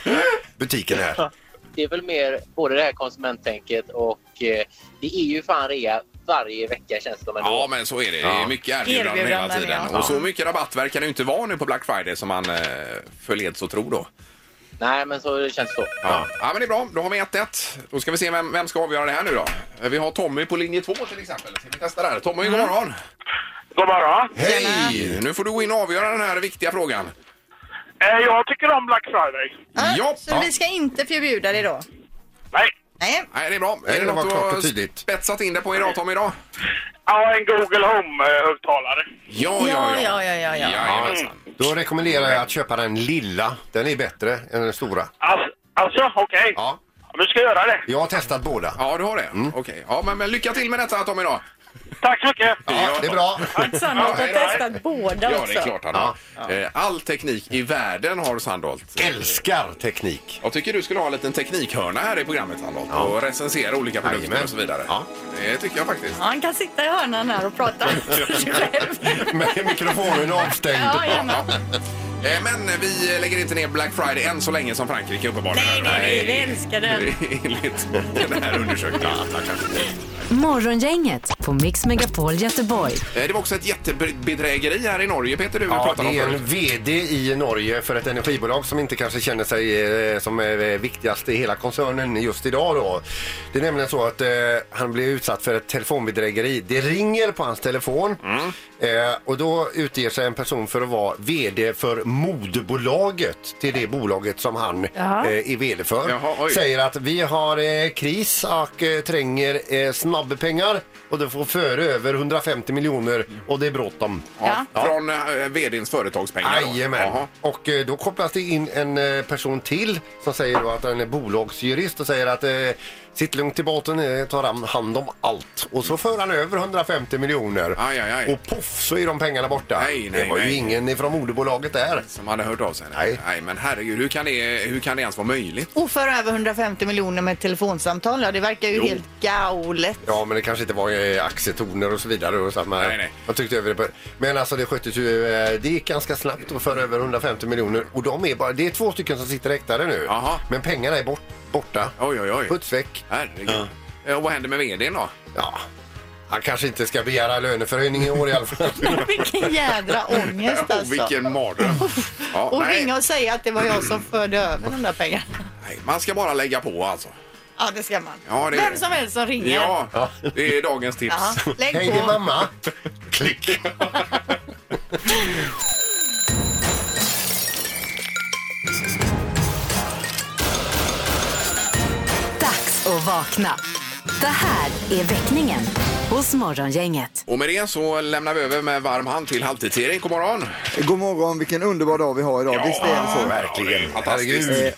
[SPEAKER 2] butiken här.
[SPEAKER 8] Det är väl mer både det här konsumenttänket och eh, det är ju fan rea varje vecka känns det som ändå.
[SPEAKER 1] Ja, men så är det. Det är
[SPEAKER 2] Ja.
[SPEAKER 1] mycket erbjudanden hela
[SPEAKER 3] Erbjudanden,
[SPEAKER 1] tiden.
[SPEAKER 3] ja.
[SPEAKER 1] Och så mycket rabatt verkar det ju inte vara nu på Black Friday som man eh, förleds att tro då.
[SPEAKER 8] Nej, men så det känns så.
[SPEAKER 1] Ja. ja, men det är bra. Då har vi 1-1. Då ska vi se vem, vem ska avgöra det här nu då. Eh, Vi har Tommy på linje 2 till exempel. Ska vi testa där? Tommy, god morgon!
[SPEAKER 9] Mm. God morgon.
[SPEAKER 1] Hej! Nu får du gå in och avgöra den här viktiga frågan.
[SPEAKER 9] Eh, jag tycker om Black Friday.
[SPEAKER 3] Ja,
[SPEAKER 1] Ja.
[SPEAKER 3] Så vi ska inte förbjuda det då?
[SPEAKER 9] Nej,
[SPEAKER 3] Nej.
[SPEAKER 1] Nej, det är bra.
[SPEAKER 2] Nej,
[SPEAKER 1] är det
[SPEAKER 2] det var
[SPEAKER 1] något du
[SPEAKER 2] klart och
[SPEAKER 1] har
[SPEAKER 2] tydligt.
[SPEAKER 1] spetsat in det på idag Tommy idag?
[SPEAKER 9] jag har en Google Home-högtalare.
[SPEAKER 1] Ja,
[SPEAKER 3] Ja, ja, ja, ja, ja.
[SPEAKER 1] Jajamensan.
[SPEAKER 9] Mm.
[SPEAKER 2] Då rekommenderar jag att köpa den lilla. Den är bättre än den stora.
[SPEAKER 9] Alltså, alltså okej.
[SPEAKER 2] Ja,
[SPEAKER 9] Vi ska göra det.
[SPEAKER 2] jag har testat båda.
[SPEAKER 1] Ja, du har det?
[SPEAKER 2] Mm.
[SPEAKER 1] Okej. Ja, men, men lycka till med detta Tommy idag.
[SPEAKER 9] Tack så mycket.
[SPEAKER 10] Eh,
[SPEAKER 2] Ja, det är bra.
[SPEAKER 3] Sandholt har
[SPEAKER 1] Ja, ja.
[SPEAKER 3] testat båda
[SPEAKER 1] Ja,
[SPEAKER 3] också.
[SPEAKER 1] det är klart han har. Eh, All teknik i världen har Sandholt.
[SPEAKER 2] Älskar teknik.
[SPEAKER 1] Jag tycker du skulle ha en liten teknikhörna här i programmet Sandholt och recensera olika produkter
[SPEAKER 2] Jajamän.
[SPEAKER 1] och så vidare.
[SPEAKER 2] Ja.
[SPEAKER 1] Det tycker jag faktiskt.
[SPEAKER 3] Ja, han kan sitta i hörnan här och prata för sig själv.
[SPEAKER 2] Med mikrofonen avstängd.
[SPEAKER 3] Ja, ja.
[SPEAKER 1] Ja. Eh, Men vi lägger inte ner Black Friday än så länge som Frankrike uppenbarligen.
[SPEAKER 3] Nej, nej, nej, vi älskar den.
[SPEAKER 1] Enligt den här undersökningen.
[SPEAKER 4] Morgongänget på Mix Megapol Göteborg.
[SPEAKER 1] Eh, Det var också ett jättebedrägeri här i Norge, Peter, du
[SPEAKER 2] Ja,
[SPEAKER 1] pratade om
[SPEAKER 2] det är en
[SPEAKER 1] förut.
[SPEAKER 2] VD i Norge för ett energibolag som inte kanske känner sig eh, som eh, viktigast i hela koncernen just idag. Då. Det är nämligen så att eh, han blev utsatt för ett telefonbedrägeri. Det ringer på hans telefon
[SPEAKER 1] Mm.
[SPEAKER 2] eh, och då utger sig en person för att vara VD för modbolaget till det bolaget som han
[SPEAKER 3] Jaha.
[SPEAKER 2] eh, är VD för.
[SPEAKER 1] Jaha, oj.
[SPEAKER 2] Säger att vi har eh, kris och eh, tränger eh, snabbpengar och det får föra över 150 miljoner och det är bråttom.
[SPEAKER 1] Ja. Från eh, vdns företagspengar. då.
[SPEAKER 2] Jajamän.
[SPEAKER 1] Jaha.
[SPEAKER 2] Och eh, då kopplas det in en eh, person till som säger då att han är bolagsjurist och säger att eh, sitt lugnt i båten, eh, tar han hand om allt. Och så för han över 150 miljoner.
[SPEAKER 1] Aj, aj, aj.
[SPEAKER 2] Och poff så är de pengarna borta.
[SPEAKER 1] Nej, nej,
[SPEAKER 2] det var ju
[SPEAKER 1] nej.
[SPEAKER 2] ingen från moderbolaget där.
[SPEAKER 1] Som hade hört av sig?
[SPEAKER 2] Nej.
[SPEAKER 1] men herregud, hur kan, det, hur kan det ens vara möjligt?
[SPEAKER 3] Och för över 150 miljoner med ett telefonsamtal, ja, det verkar ju helt galet.
[SPEAKER 2] Ja, men det kanske inte var eh, aktietoner och så vidare. Och så att man,
[SPEAKER 1] Nej, nej.
[SPEAKER 2] man tyckte över det. på- Men alltså det sköttes ju, eh, det gick ganska snabbt att föra över 150 miljoner. Och de är bara, det är två stycken som sitter häktade nu.
[SPEAKER 1] Jaha.
[SPEAKER 2] Men pengarna är bort, borta.
[SPEAKER 1] Oj, oj, oj.
[SPEAKER 2] Puts väck.
[SPEAKER 1] Herregud. Eh, Och vad händer med vdn då?
[SPEAKER 2] Ja, han kanske inte ska begära löneförhöjning i år i alla fall.
[SPEAKER 3] Vilken jädra ångest
[SPEAKER 1] Oh,
[SPEAKER 3] alltså.
[SPEAKER 1] vilken mardröm. Ja,
[SPEAKER 3] Och
[SPEAKER 1] nej,
[SPEAKER 3] ringa och säga att det var jag som förde över de där pengarna.
[SPEAKER 1] nej, man ska bara lägga på alltså.
[SPEAKER 3] Ja, det ska man.
[SPEAKER 1] Ja, det är
[SPEAKER 3] Vem
[SPEAKER 1] det.
[SPEAKER 3] som helst som ringer.
[SPEAKER 1] Ja, det är dagens tips.
[SPEAKER 3] Ja, lägg
[SPEAKER 2] Hej, det är
[SPEAKER 3] på.
[SPEAKER 2] mamma. Klick.
[SPEAKER 4] Dags att vakna. Det här är väckningen hos Morgongänget.
[SPEAKER 1] Och med det så lämnar vi över med varm hand till halvtids-Erik. God morgon!
[SPEAKER 10] God morgon, vilken underbar dag vi har idag. Visst är det så?
[SPEAKER 1] verkligen. Fantastiskt.
[SPEAKER 2] Herregud.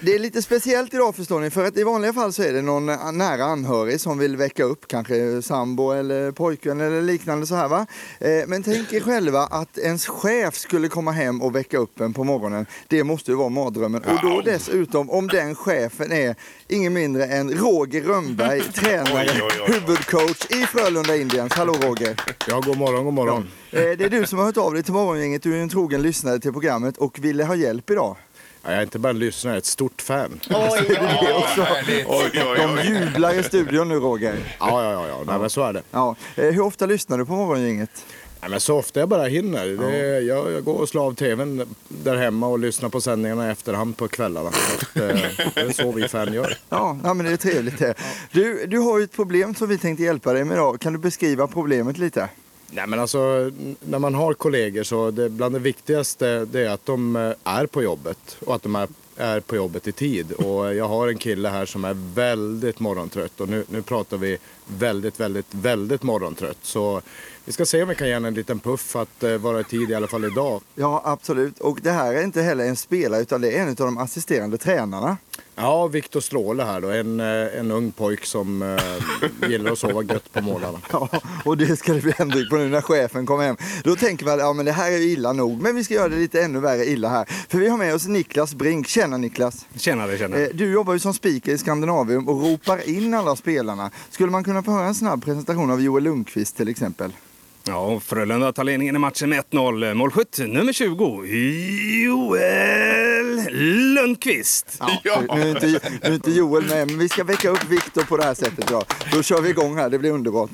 [SPEAKER 10] Det är lite speciellt idag förstår ni, för att i vanliga fall så är det någon eh, nära anhörig som vill väcka upp, kanske sambo eller pojkvän eller liknande så här va. Eh, Men tänk er själva att ens chef skulle komma hem och väcka upp en på morgonen. Det måste ju vara mardrömmen. Och då dessutom om den chefen är ingen mindre än Roger Rönnberg, tränare, huvudcoach i Frölunda Indians. Hallå Roger!
[SPEAKER 11] Ja, god morgon, god morgon.
[SPEAKER 10] Eh, Det är du som har hört av dig till morgongänget, du är ju en trogen lyssnare till programmet och ville ha hjälp idag.
[SPEAKER 11] Ja, jag är inte bara en lyssnare, jag är ett stort fan.
[SPEAKER 10] Oj,
[SPEAKER 11] Det är
[SPEAKER 10] oj,
[SPEAKER 11] också-
[SPEAKER 10] oj, oj, oj. De jublar i studion nu, Roger.
[SPEAKER 11] Ja, ja, ja, ja. Nej, men så är det.
[SPEAKER 10] Ja. Eh, Hur ofta lyssnar du på Morgongänget?
[SPEAKER 11] Nej, men så ofta jag bara hinner. Det är, jag, jag går och slår av tvn där hemma och lyssnar på sändningarna i efterhand på kvällarna. Så att, eh, det är så vi fan gör.
[SPEAKER 10] Ja, ja men det är trevligt det. Du, du har ju ett problem som vi tänkte hjälpa dig med idag. Kan du beskriva problemet lite?
[SPEAKER 11] Nej, men alltså, n- när man har kollegor så det, bland det viktigaste det är att de eh, är på jobbet och att de är, är på jobbet i tid. Och jag har en kille här som är väldigt morgontrött och nu, nu pratar vi väldigt, väldigt, väldigt morgontrött. Så vi ska se om vi kan ge honom en liten puff att eh, vara i tid i alla fall idag.
[SPEAKER 10] Ja, absolut. Och det här är inte heller en spelare utan det är en av de assisterande tränarna.
[SPEAKER 11] Ja, Viktor Stråle här då, en, eh, en ung pojk som eh, gillar att sova gött på morgnarna.
[SPEAKER 10] Ja, och det ska det bli ändring på nu när chefen kommer hem. Då tänker man, ja men det här är ju illa nog, men vi ska göra det lite ännu värre illa här. För vi har med oss Niklas Brink. Tjena Niklas!
[SPEAKER 11] Tjenare,
[SPEAKER 10] Eh, Du jobbar ju som speaker i Skandinavium och ropar in alla spelarna. Skulle man kunna få höra en snabb presentation av Joel Lundqvist till exempel?
[SPEAKER 12] Ja, och Frölunda tar ledningen i matchen med 1-0. Målskytt nummer 20, Joel Lundqvist.
[SPEAKER 10] Nu är, inte, nu är inte Joel med, men vi ska väcka upp Viktor på det här sättet. Ja. Då kör vi igång här, det blir underbart.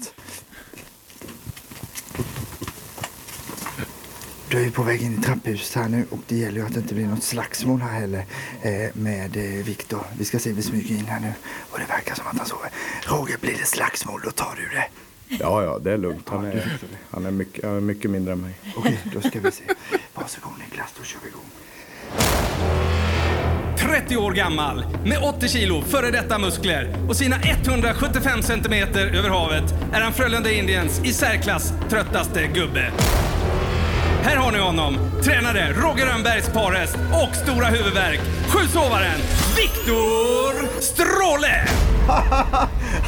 [SPEAKER 10] Du är på väg in i trapphuset här nu och det gäller ju att det inte blir något slagsmål här heller eh, med eh, Viktor. Vi ska se, vi smyger in här nu och det verkar som att han sover. Roger, blir det slagsmål då tar du det.
[SPEAKER 11] Ja, ja, det är lugnt. Han är, han är, mycket, han är mycket mindre än mig.
[SPEAKER 10] Okej, då ska vi se. Varsågod Niklas, då kör vi igång.
[SPEAKER 12] 30 år gammal, med 80 kilo före detta muskler och sina 175 centimeter över havet är han Frölunda Indiens i särklass tröttaste gubbe. Här har ni honom, tränare Roger Rönnbergs parhäst och stora huvudvärk, sjusovaren Viktor Stråle!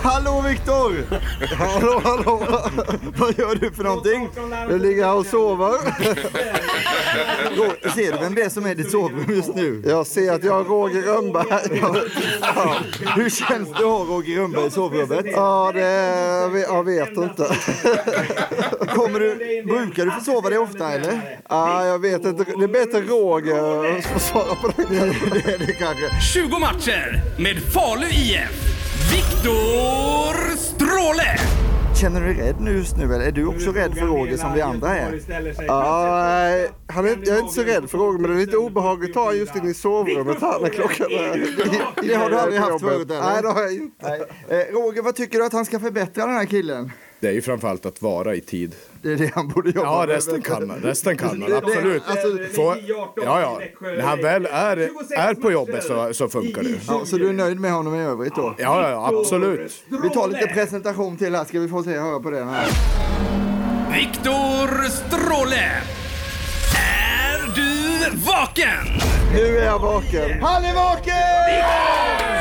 [SPEAKER 10] Hallå Viktor! Hallå, hallå! Vad gör du för någonting? Du ligger här och sover. Roger, Ser du vem det är som är i ditt sovrum just nu? Jag ser att jag har Roger Rönnberg. Ja. Ja. Hur känns det att ha Roger Rönnberg i sovrummet? Ja, det... Jag vet inte. Kommer du, brukar du få sova dig ofta eller? Ja, jag vet inte. Det är bättre Roger som svarar på det. Det är det kanske.
[SPEAKER 12] 20 matcher med Falu IF, Viktor Stråle!
[SPEAKER 10] Känner du dig rädd nu just nu eller är du också rädd för Roger som vi andra är?
[SPEAKER 13] Ja, han är, jag är inte så rädd för Roger, men det är lite obehagligt att ta honom just in i sovrummet här när klockan är...
[SPEAKER 10] Det har du aldrig haft
[SPEAKER 13] Jobbet.
[SPEAKER 10] förut eller?
[SPEAKER 13] Nej, det har jag
[SPEAKER 10] inte. Roger, vad tycker du att han ska förbättra den här killen?
[SPEAKER 11] Det är ju framförallt att vara i tid.
[SPEAKER 10] Det är det han borde jobba
[SPEAKER 11] Ja,
[SPEAKER 10] med.
[SPEAKER 11] resten kan man. Resten kan man,
[SPEAKER 10] Det-
[SPEAKER 11] absolut.
[SPEAKER 10] alltså-
[SPEAKER 11] Få, ja, ja. När han väl är, är på jobbet så, så funkar det.
[SPEAKER 10] Ja, så du är nöjd med honom i övrigt då?
[SPEAKER 11] Ja, ja, ja, absolut.
[SPEAKER 10] Vi tar lite presentation till här, ska vi få se höra på den här.
[SPEAKER 12] Viktor Stråle! Är du vaken?
[SPEAKER 10] Nu är jag vaken. Han är vaken!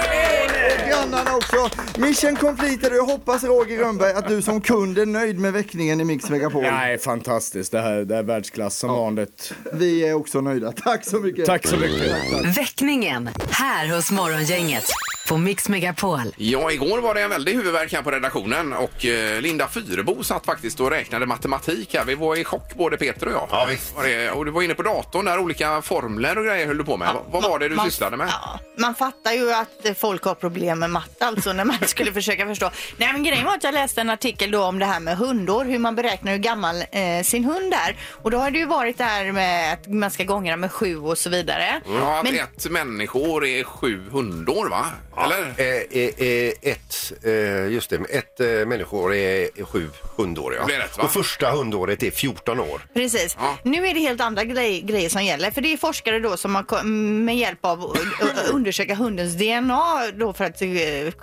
[SPEAKER 10] Och grannarna också. Mission completed och jag hoppas Roger Rönnberg att du som kund är nöjd med väckningen i Mix Megapol.
[SPEAKER 11] Nej, fantastiskt. Det här det är världsklass som vanligt.
[SPEAKER 10] Vi är också nöjda. Tack så mycket.
[SPEAKER 11] Tack så mycket.
[SPEAKER 4] Väckningen här hos Morgongänget på Mix Megapol.
[SPEAKER 1] Ja, igår var det en väldig huvudvärk här på redaktionen och eh, Linda Fyrebo satt faktiskt och räknade matematik här. Vi var i chock både Peter och jag. Ja, visst. Och, det, och du var inne på datorn där olika formler och grejer höll du på med. Vad- Vad var det du
[SPEAKER 3] man-
[SPEAKER 1] sysslade med? Ja.
[SPEAKER 3] Man fattar ju att eh, folk har problem med matte alltså när man skulle försöka förstå. Nej men grejen var att jag läste en artikel då om det här med hundår, hur man beräknar hur gammal eh, sin hund är. Och då har det ju varit det här med att man ska gångra med sju och så vidare.
[SPEAKER 1] att
[SPEAKER 3] Men-
[SPEAKER 1] ett människor är sju hundår, va? Eller?
[SPEAKER 2] Eh, eh, eh, ett, eh, just det, ett eh, människor är sju hundår. Ja.
[SPEAKER 1] Det är rätt, va?
[SPEAKER 2] och första hundåret är 14 år.
[SPEAKER 3] Precis. Nu är det helt andra grej, grejer som gäller. För det är forskare då som har ko- med hjälp av att ö- undersöka hundens DNA då för att eh,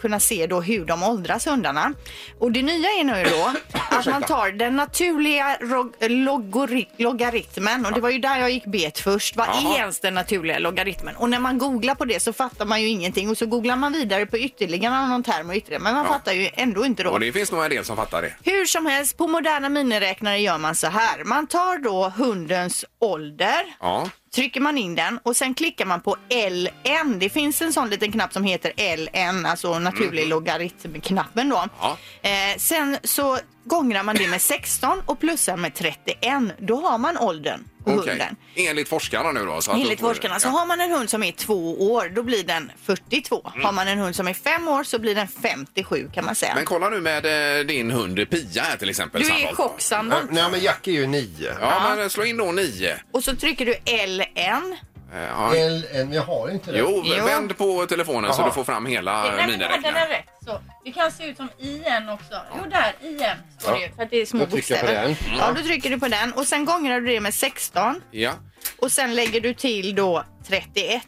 [SPEAKER 3] kunna se då hur de åldras hundarna. Och det nya är nu då att man tar den naturliga rog- logori- logaritmen och det var ju där jag gick bet först. Vad
[SPEAKER 14] Jaha.
[SPEAKER 3] är ens den naturliga logaritmen? Och när man googlar på det så fattar man ju ingenting och så googlar man vidare på ytterligare någon term och ytterligare. Men man
[SPEAKER 1] Ja.
[SPEAKER 3] fattar ju ändå inte då.
[SPEAKER 1] Och det finns nog en del som fattar det.
[SPEAKER 3] Hur som helst, på moderna miniräknare gör man så här. Man tar då hundens ålder,
[SPEAKER 1] Ja.
[SPEAKER 3] trycker man in den och sen klickar man på LN. Det finns en sån liten knapp som heter LN, alltså naturlig logaritmknappen då.
[SPEAKER 1] Mm. Ja.
[SPEAKER 3] Eh, sen så gångrar man det med 16 och plussar med 31. Då har man åldern. på
[SPEAKER 1] Okej.
[SPEAKER 3] hunden.
[SPEAKER 1] Enligt forskarna nu då? Så att
[SPEAKER 3] Enligt
[SPEAKER 1] då får-
[SPEAKER 3] forskarna. Så
[SPEAKER 1] ja.
[SPEAKER 3] har man en hund som är två år, då blir den 42.
[SPEAKER 1] Mm.
[SPEAKER 3] Har man en hund som är fem år så blir den 57 kan man säga.
[SPEAKER 1] Men kolla nu med eh, din hund Pia här till exempel.
[SPEAKER 3] Du är i
[SPEAKER 1] Sandholt. Eh,
[SPEAKER 3] chock, Sandholt.
[SPEAKER 1] Ja,
[SPEAKER 2] Eh, men Jack är ju nio.
[SPEAKER 1] Ja, men eh, slå in då nio.
[SPEAKER 3] Och så trycker du LN.
[SPEAKER 1] Eh, Ja.
[SPEAKER 2] LN, jag har inte det.
[SPEAKER 1] Jo,
[SPEAKER 3] Jo.
[SPEAKER 1] vänd på telefonen så
[SPEAKER 2] Jaha.
[SPEAKER 1] du får fram hela eh, miniräknaren.
[SPEAKER 3] rätt. Så. Det kan se ut som IN också. Jo, där IN
[SPEAKER 1] står det ju, Ja.
[SPEAKER 3] För att det är små
[SPEAKER 1] Då trycker jag på
[SPEAKER 3] bokstäver.
[SPEAKER 1] den.
[SPEAKER 3] Ja, då trycker du på den. Och sen gånger du det med 16.
[SPEAKER 1] Ja,
[SPEAKER 3] Och sen lägger du till då 31.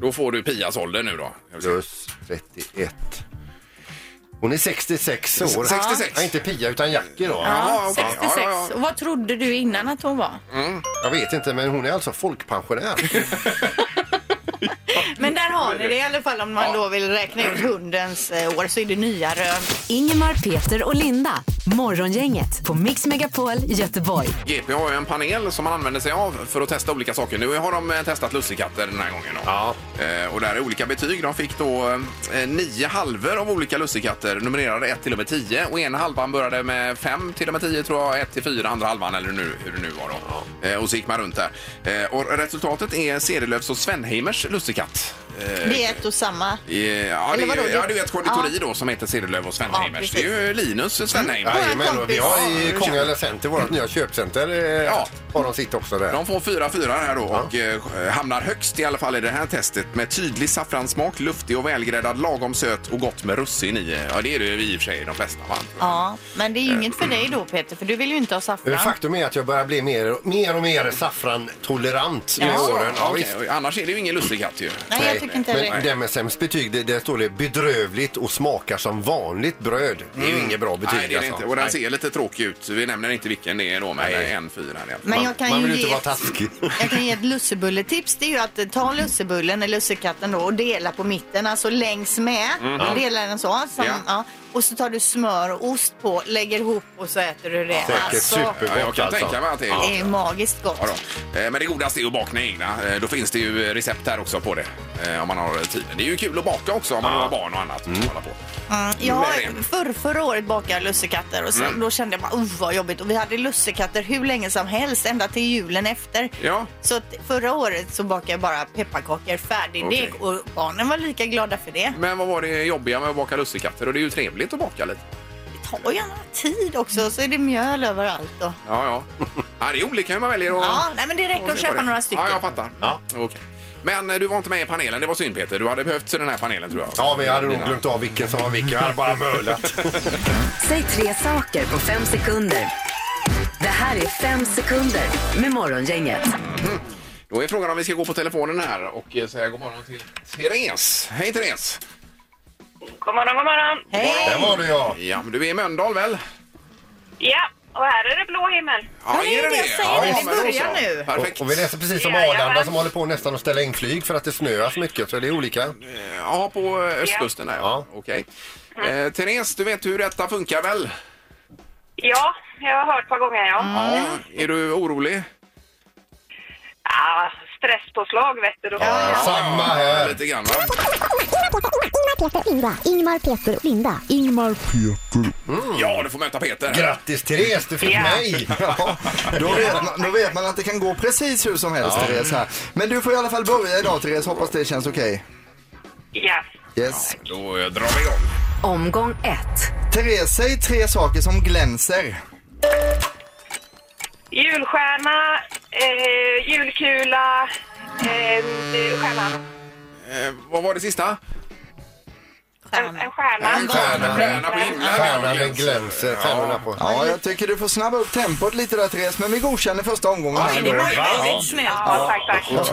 [SPEAKER 1] då får du Pias ålder nu då.
[SPEAKER 2] Plus 31. Hon är 66 år.
[SPEAKER 1] 66.
[SPEAKER 2] Ja, inte Pia utan Jackie då.
[SPEAKER 3] Ja, 66. Och vad trodde du innan att hon var?
[SPEAKER 2] Mm. Jag vet inte, men hon är alltså folkpensionär.
[SPEAKER 3] Men där har ni det i alla fall om man då vill räkna ut hundens eh, år så är det nya rön.
[SPEAKER 4] Ingemar, Peter och Linda. Morgongänget på Mix Megapol Göteborg.
[SPEAKER 1] GP har ju en panel som man använder sig av för att testa olika saker. Nu har de eh, testat lussekatter den här gången. Då. Eh, och där är olika betyg. De fick då eh, nio halvor av olika lussekatter, numrerade 1 till och med 10. Och ena halvan började med 5 till och med 10 tror jag, 1 till 4, andra halvan eller nu, hur det nu var då. Eh, och så gick man runt där. Eh, och resultatet är Cederlöfs och Svenheimers lussekatt. Eh,
[SPEAKER 3] Det är ett och samma.
[SPEAKER 1] eh, Ja, det
[SPEAKER 3] Eller vadå,
[SPEAKER 1] är,
[SPEAKER 3] det-
[SPEAKER 1] ja, det är ett konditori
[SPEAKER 3] Ja.
[SPEAKER 1] då som heter Cederlöf och
[SPEAKER 3] Ja,
[SPEAKER 1] Svenheimers.
[SPEAKER 3] precis.
[SPEAKER 1] det är ju Linus Svenheimer.
[SPEAKER 2] Jajamän, och vi har i Kongälv Center, vårt nya köpcenter, eh, har de sitt också där.
[SPEAKER 1] De får 4-4 här då och eh, hamnar högst i alla fall i det här testet med tydlig saffransmak, luftig och välgräddad, lagom söt och gott med russin i. Ja, det är det ju i och för sig de flesta. Va?
[SPEAKER 3] Ja, men det är ju inget för dig då Peter, för du vill ju inte ha
[SPEAKER 2] Eh,
[SPEAKER 3] saffran.
[SPEAKER 2] Faktum är att jag börjar bli mer, mer och mer saffrantolerant med
[SPEAKER 1] Ja,
[SPEAKER 2] åren. Ja,
[SPEAKER 1] okej.
[SPEAKER 2] visst.
[SPEAKER 1] Annars är det ju ingen lussekatt ju.
[SPEAKER 3] Nej, jag tycker inte
[SPEAKER 2] Men
[SPEAKER 3] det.
[SPEAKER 2] den med sämst betyg, det, det står det bedrövligt och smakar som vanligt bröd. Det är ju inget bra betyg.
[SPEAKER 1] Mm. Nej, det är det
[SPEAKER 2] alltså.
[SPEAKER 1] inte. Och den
[SPEAKER 2] Nej.
[SPEAKER 1] ser lite tråkig ut. Vi nämner inte vilken det är då, men en fyra. här i alla fall.
[SPEAKER 3] Men jag kan Man- man ju vill ju inte ge- vara
[SPEAKER 2] taskig.
[SPEAKER 3] Jag kan ge ett lussebulletips. Det är ju att eh, ta lussebullen eller lussekatten då och dela på mitten, alltså längs med.
[SPEAKER 1] Mhm.
[SPEAKER 3] Dela den så. Som,
[SPEAKER 1] Ja.
[SPEAKER 3] ja. Och så tar du smör och ost på, lägger ihop och så äter du det.
[SPEAKER 1] Säkert supergott Ja, jag kan alltså. tänka mig att det är gott.
[SPEAKER 3] Det är magiskt gott.
[SPEAKER 1] Ja då. Eh, Men det godaste är ju att bakna egna. Eh, Då finns det ju recept här också på det. eh, Om man har tiden. Det är ju kul att baka också om man har barn och annat. att Hålla på.
[SPEAKER 3] Mm, jag
[SPEAKER 1] Men-
[SPEAKER 3] har förr, förra året bakade jag lussekatter och sen,
[SPEAKER 1] Mm.
[SPEAKER 3] då kände jag bara "Uff, vad jobbigt. Och vi hade lussekatter hur länge som helst, ända till julen efter.
[SPEAKER 1] Ja.
[SPEAKER 3] Så att förra året så bakade jag bara pepparkakor, färdigdeg
[SPEAKER 1] Okej.
[SPEAKER 3] och barnen var lika glada för det.
[SPEAKER 1] Men vad var det jobbiga med att baka lussekatter? Och det är ju trevligt att baka lite.
[SPEAKER 3] Det tar ju gärna tid också, så är det mjöl överallt. Och...
[SPEAKER 1] Ja, ja. ja det är olika hur man väljer att...
[SPEAKER 3] Ja, nej, men det räcker att
[SPEAKER 1] se på
[SPEAKER 3] köpa
[SPEAKER 1] det.
[SPEAKER 3] några stycken.
[SPEAKER 1] Ja, jag fattar. Ja. Okej. Men eh, du var inte med i panelen, det var synd Peter. Du hade behövt den här panelen tror jag.
[SPEAKER 2] Ja, men jag hade nog glömt av vilken som var vilken. Jag hade bara mölat.
[SPEAKER 4] Säg tre saker på fem sekunder. Det här är fem sekunder med Morgongänget.
[SPEAKER 1] Då är frågan om vi ska gå på telefonen här och eh, säga god morgon till Therese. Hej Therese!
[SPEAKER 9] God morgon, god morgon.
[SPEAKER 2] Där var du ja!
[SPEAKER 1] Ja, men du är i Mölndal väl?
[SPEAKER 9] Ja, och här är det blå himmel.
[SPEAKER 1] Ja, är det det? Ja,
[SPEAKER 2] det.
[SPEAKER 1] men då
[SPEAKER 2] Börja
[SPEAKER 1] så.
[SPEAKER 2] nu.
[SPEAKER 1] Perfekt.
[SPEAKER 2] Och, och vi läser precis som
[SPEAKER 9] Jajamän.
[SPEAKER 2] Arlanda som håller på nästan att ställa in flyg för att det snöar så mycket. Så det är olika.
[SPEAKER 1] Ja, på eh, östkusten där ja. Okej. Eh, Therese, du vet hur detta funkar väl?
[SPEAKER 9] Ja, jag har hört ett par gånger, ja.
[SPEAKER 1] Ja. Är du orolig?
[SPEAKER 9] Ah, stresspåslag, vet du. Då.
[SPEAKER 2] Samma här.
[SPEAKER 1] Lite grann va?
[SPEAKER 14] Ingmar, Peter, Linda. Ingmar, Peter, Linda. Ingmar, Peter.
[SPEAKER 10] Mm.
[SPEAKER 1] Ja, du får möta Peter.
[SPEAKER 2] Grattis Therese, du fick
[SPEAKER 1] Ja.
[SPEAKER 2] mig!
[SPEAKER 1] Ja.
[SPEAKER 11] Då vet, man, då vet man att det kan gå precis hur som helst,
[SPEAKER 2] Ja.
[SPEAKER 11] Therese. Här. Men du får i alla fall börja idag, Therese. Hoppas det känns okej.
[SPEAKER 9] Ja.
[SPEAKER 11] Yes.
[SPEAKER 1] Då eh, drar vi igång.
[SPEAKER 11] Omgång ett. Therese, säg tre saker som glänser.
[SPEAKER 9] Julstjärna, eh, julkula, eh, stjärna.
[SPEAKER 1] Eh, vad var det sista?
[SPEAKER 9] En, en stjärna. En
[SPEAKER 1] Stjärna på himlen.
[SPEAKER 2] Stjärnan den glänser, stjärnorna på.
[SPEAKER 11] Ja, jag tycker du får snabba upp tempot lite där, Therese. Men vi godkänner första omgången.
[SPEAKER 2] Ja,
[SPEAKER 11] här
[SPEAKER 2] det
[SPEAKER 11] ändå.
[SPEAKER 2] var ju väldigt
[SPEAKER 11] Ja.
[SPEAKER 9] snällt. Ja, tack, tack.
[SPEAKER 11] Ja,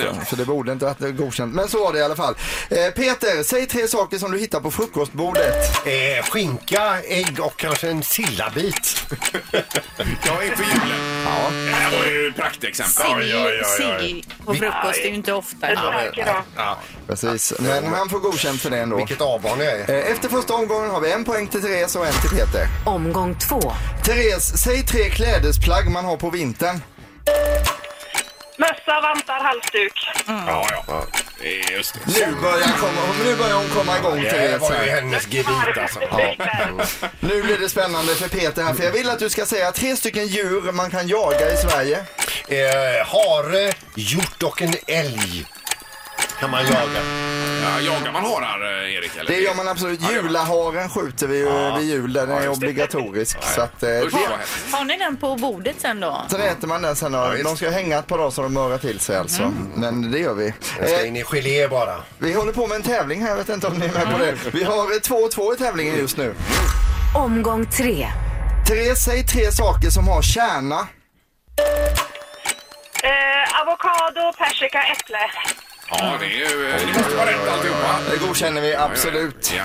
[SPEAKER 11] snällt, För det borde inte att det är godkänt. Men så var det i alla fall. Eh, Peter, säg tre saker som du hittar på frukostbordet.
[SPEAKER 2] Eh, skinka, ägg och kanske en sillabit.
[SPEAKER 1] Jag är för julen.
[SPEAKER 11] Ja.
[SPEAKER 1] Det här var ju praktexempel.
[SPEAKER 3] Sill, sill på frukost är ju inte ofta.
[SPEAKER 1] Ja.
[SPEAKER 11] Precis, men han får godkänt för det ändå.
[SPEAKER 2] Vilket avbarn jag är.
[SPEAKER 11] Eh, Efter första omgången har vi en poäng till Therese och en till Peter.
[SPEAKER 4] Omgång två.
[SPEAKER 11] Therese, säg tre klädesplagg man har på vintern.
[SPEAKER 9] Mössa, vantar, halsduk.
[SPEAKER 1] Ja, ja. Just det.
[SPEAKER 10] Nu börjar, komma, nu börjar hon komma igång
[SPEAKER 2] Det här Eh, var ju hennes gebit alltså.
[SPEAKER 10] Ja. Nu blir det spännande för Peter här, för jag vill att du ska säga tre stycken djur man kan jaga i Sverige.
[SPEAKER 2] Eh, hare, hjort och en älg kan man jaga.
[SPEAKER 1] Ja, jagar man harar, eh, Erik? Eller?
[SPEAKER 10] Det gör man absolut.
[SPEAKER 1] Ja, det gör man.
[SPEAKER 10] Julaharen skjuter vi ju
[SPEAKER 1] Ja.
[SPEAKER 10] vid jul, den
[SPEAKER 1] Ja,
[SPEAKER 10] är
[SPEAKER 1] just det.
[SPEAKER 10] obligatorisk. Så att, eh,
[SPEAKER 1] Usch, vad
[SPEAKER 10] det,
[SPEAKER 1] hemskt.
[SPEAKER 3] Har ni den på bordet sen då?
[SPEAKER 10] sen äter man den sen. Och, de ska hänga ett par dagar så de örar till sig alltså. Men det gör vi.
[SPEAKER 2] Den ska
[SPEAKER 10] Eh,
[SPEAKER 2] in i gelé bara.
[SPEAKER 10] vi håller på med en tävling här, jag vet inte om ni är med på det. Vi har eh, 2-2 i tävlingen just nu.
[SPEAKER 4] Omgång tre.
[SPEAKER 10] Therese, säg tre saker som har kärna.
[SPEAKER 9] Eh, avokado, persika, äpple.
[SPEAKER 1] Ja, det är ju... eh, Det måste vara rätt alltihopa.
[SPEAKER 10] Det godkänner vi absolut.
[SPEAKER 1] Ja,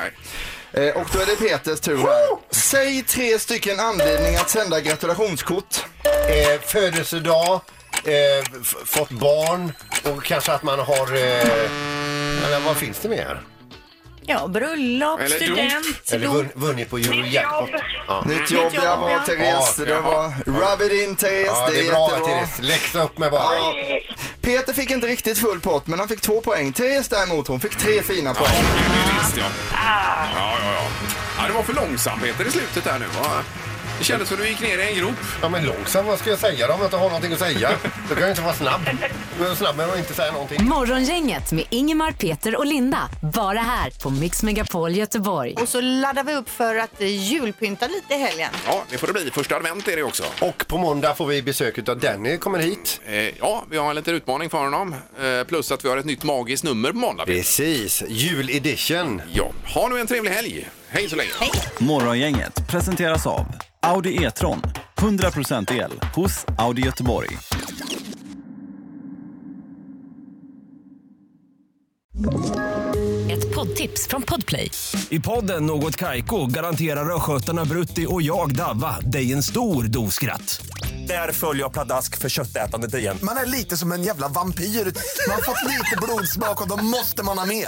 [SPEAKER 1] ja.
[SPEAKER 10] Eh, Och då är det Peters tur här. Säg tre stycken anledningar att sända gratulationskort.
[SPEAKER 2] Eh, födelsedag, eh, f- fått barn och kanske att man har... Eh, eller vad finns det mer?
[SPEAKER 3] Ja, bröllop,
[SPEAKER 1] Eller dop.
[SPEAKER 3] student,
[SPEAKER 2] Eller
[SPEAKER 3] dop.
[SPEAKER 2] vunn, vunnit på Eurojackpot. Ja.
[SPEAKER 10] Nytt jobb,
[SPEAKER 3] Nytt jobb,
[SPEAKER 10] det typ var
[SPEAKER 3] ja.
[SPEAKER 10] Therese.
[SPEAKER 2] Ja,
[SPEAKER 10] Det
[SPEAKER 2] ja.
[SPEAKER 10] var rub it in Therese.
[SPEAKER 2] Ja, det är bra Therese. Läxa upp mig bara.
[SPEAKER 10] Ja. Peter fick inte riktigt full pott, men han fick två poäng. Therese däremot, hon fick tre fina poäng.
[SPEAKER 1] Det visste jag. Ja, ja, ja. ja det var för långsam Peter i slutet där nu. Va? Det kändes som du gick ner i en grop.
[SPEAKER 2] Ja men långsam, vad ska jag säga då om jag inte har någonting att säga? Då kan jag inte vara snabb. Jag är snabb med att inte säga någonting.
[SPEAKER 4] Morgongänget med Ingemar, Peter och Linda. Bara här på Mix Megapol Göteborg.
[SPEAKER 3] Och så laddar vi upp för att eh, julpynta lite i helgen.
[SPEAKER 1] Ja, det får det bli. Första advent är det också.
[SPEAKER 2] Och på måndag får vi besök av Danny, kommer hit.
[SPEAKER 1] Eh, ja, vi har en liten utmaning för honom. Eh, plus att vi har ett nytt magiskt nummer på måndag. Peter.
[SPEAKER 2] Precis, juledition.
[SPEAKER 1] Ja, ha nu en trevlig helg. Hej så länge.
[SPEAKER 15] Morgongänget presenteras av Audi E-tron. 100% el hos Audi Göteborg.
[SPEAKER 4] Ett poddtips från Podplay.
[SPEAKER 16] I podden Något Kaiko garanterar östgötarna Brutti och jag, Davva, dig en stor dos skratt. Där följer jag pladask för köttätandet igen.
[SPEAKER 17] Man är lite som en jävla vampyr. Man har fått lite blodsmak och då måste man ha mer.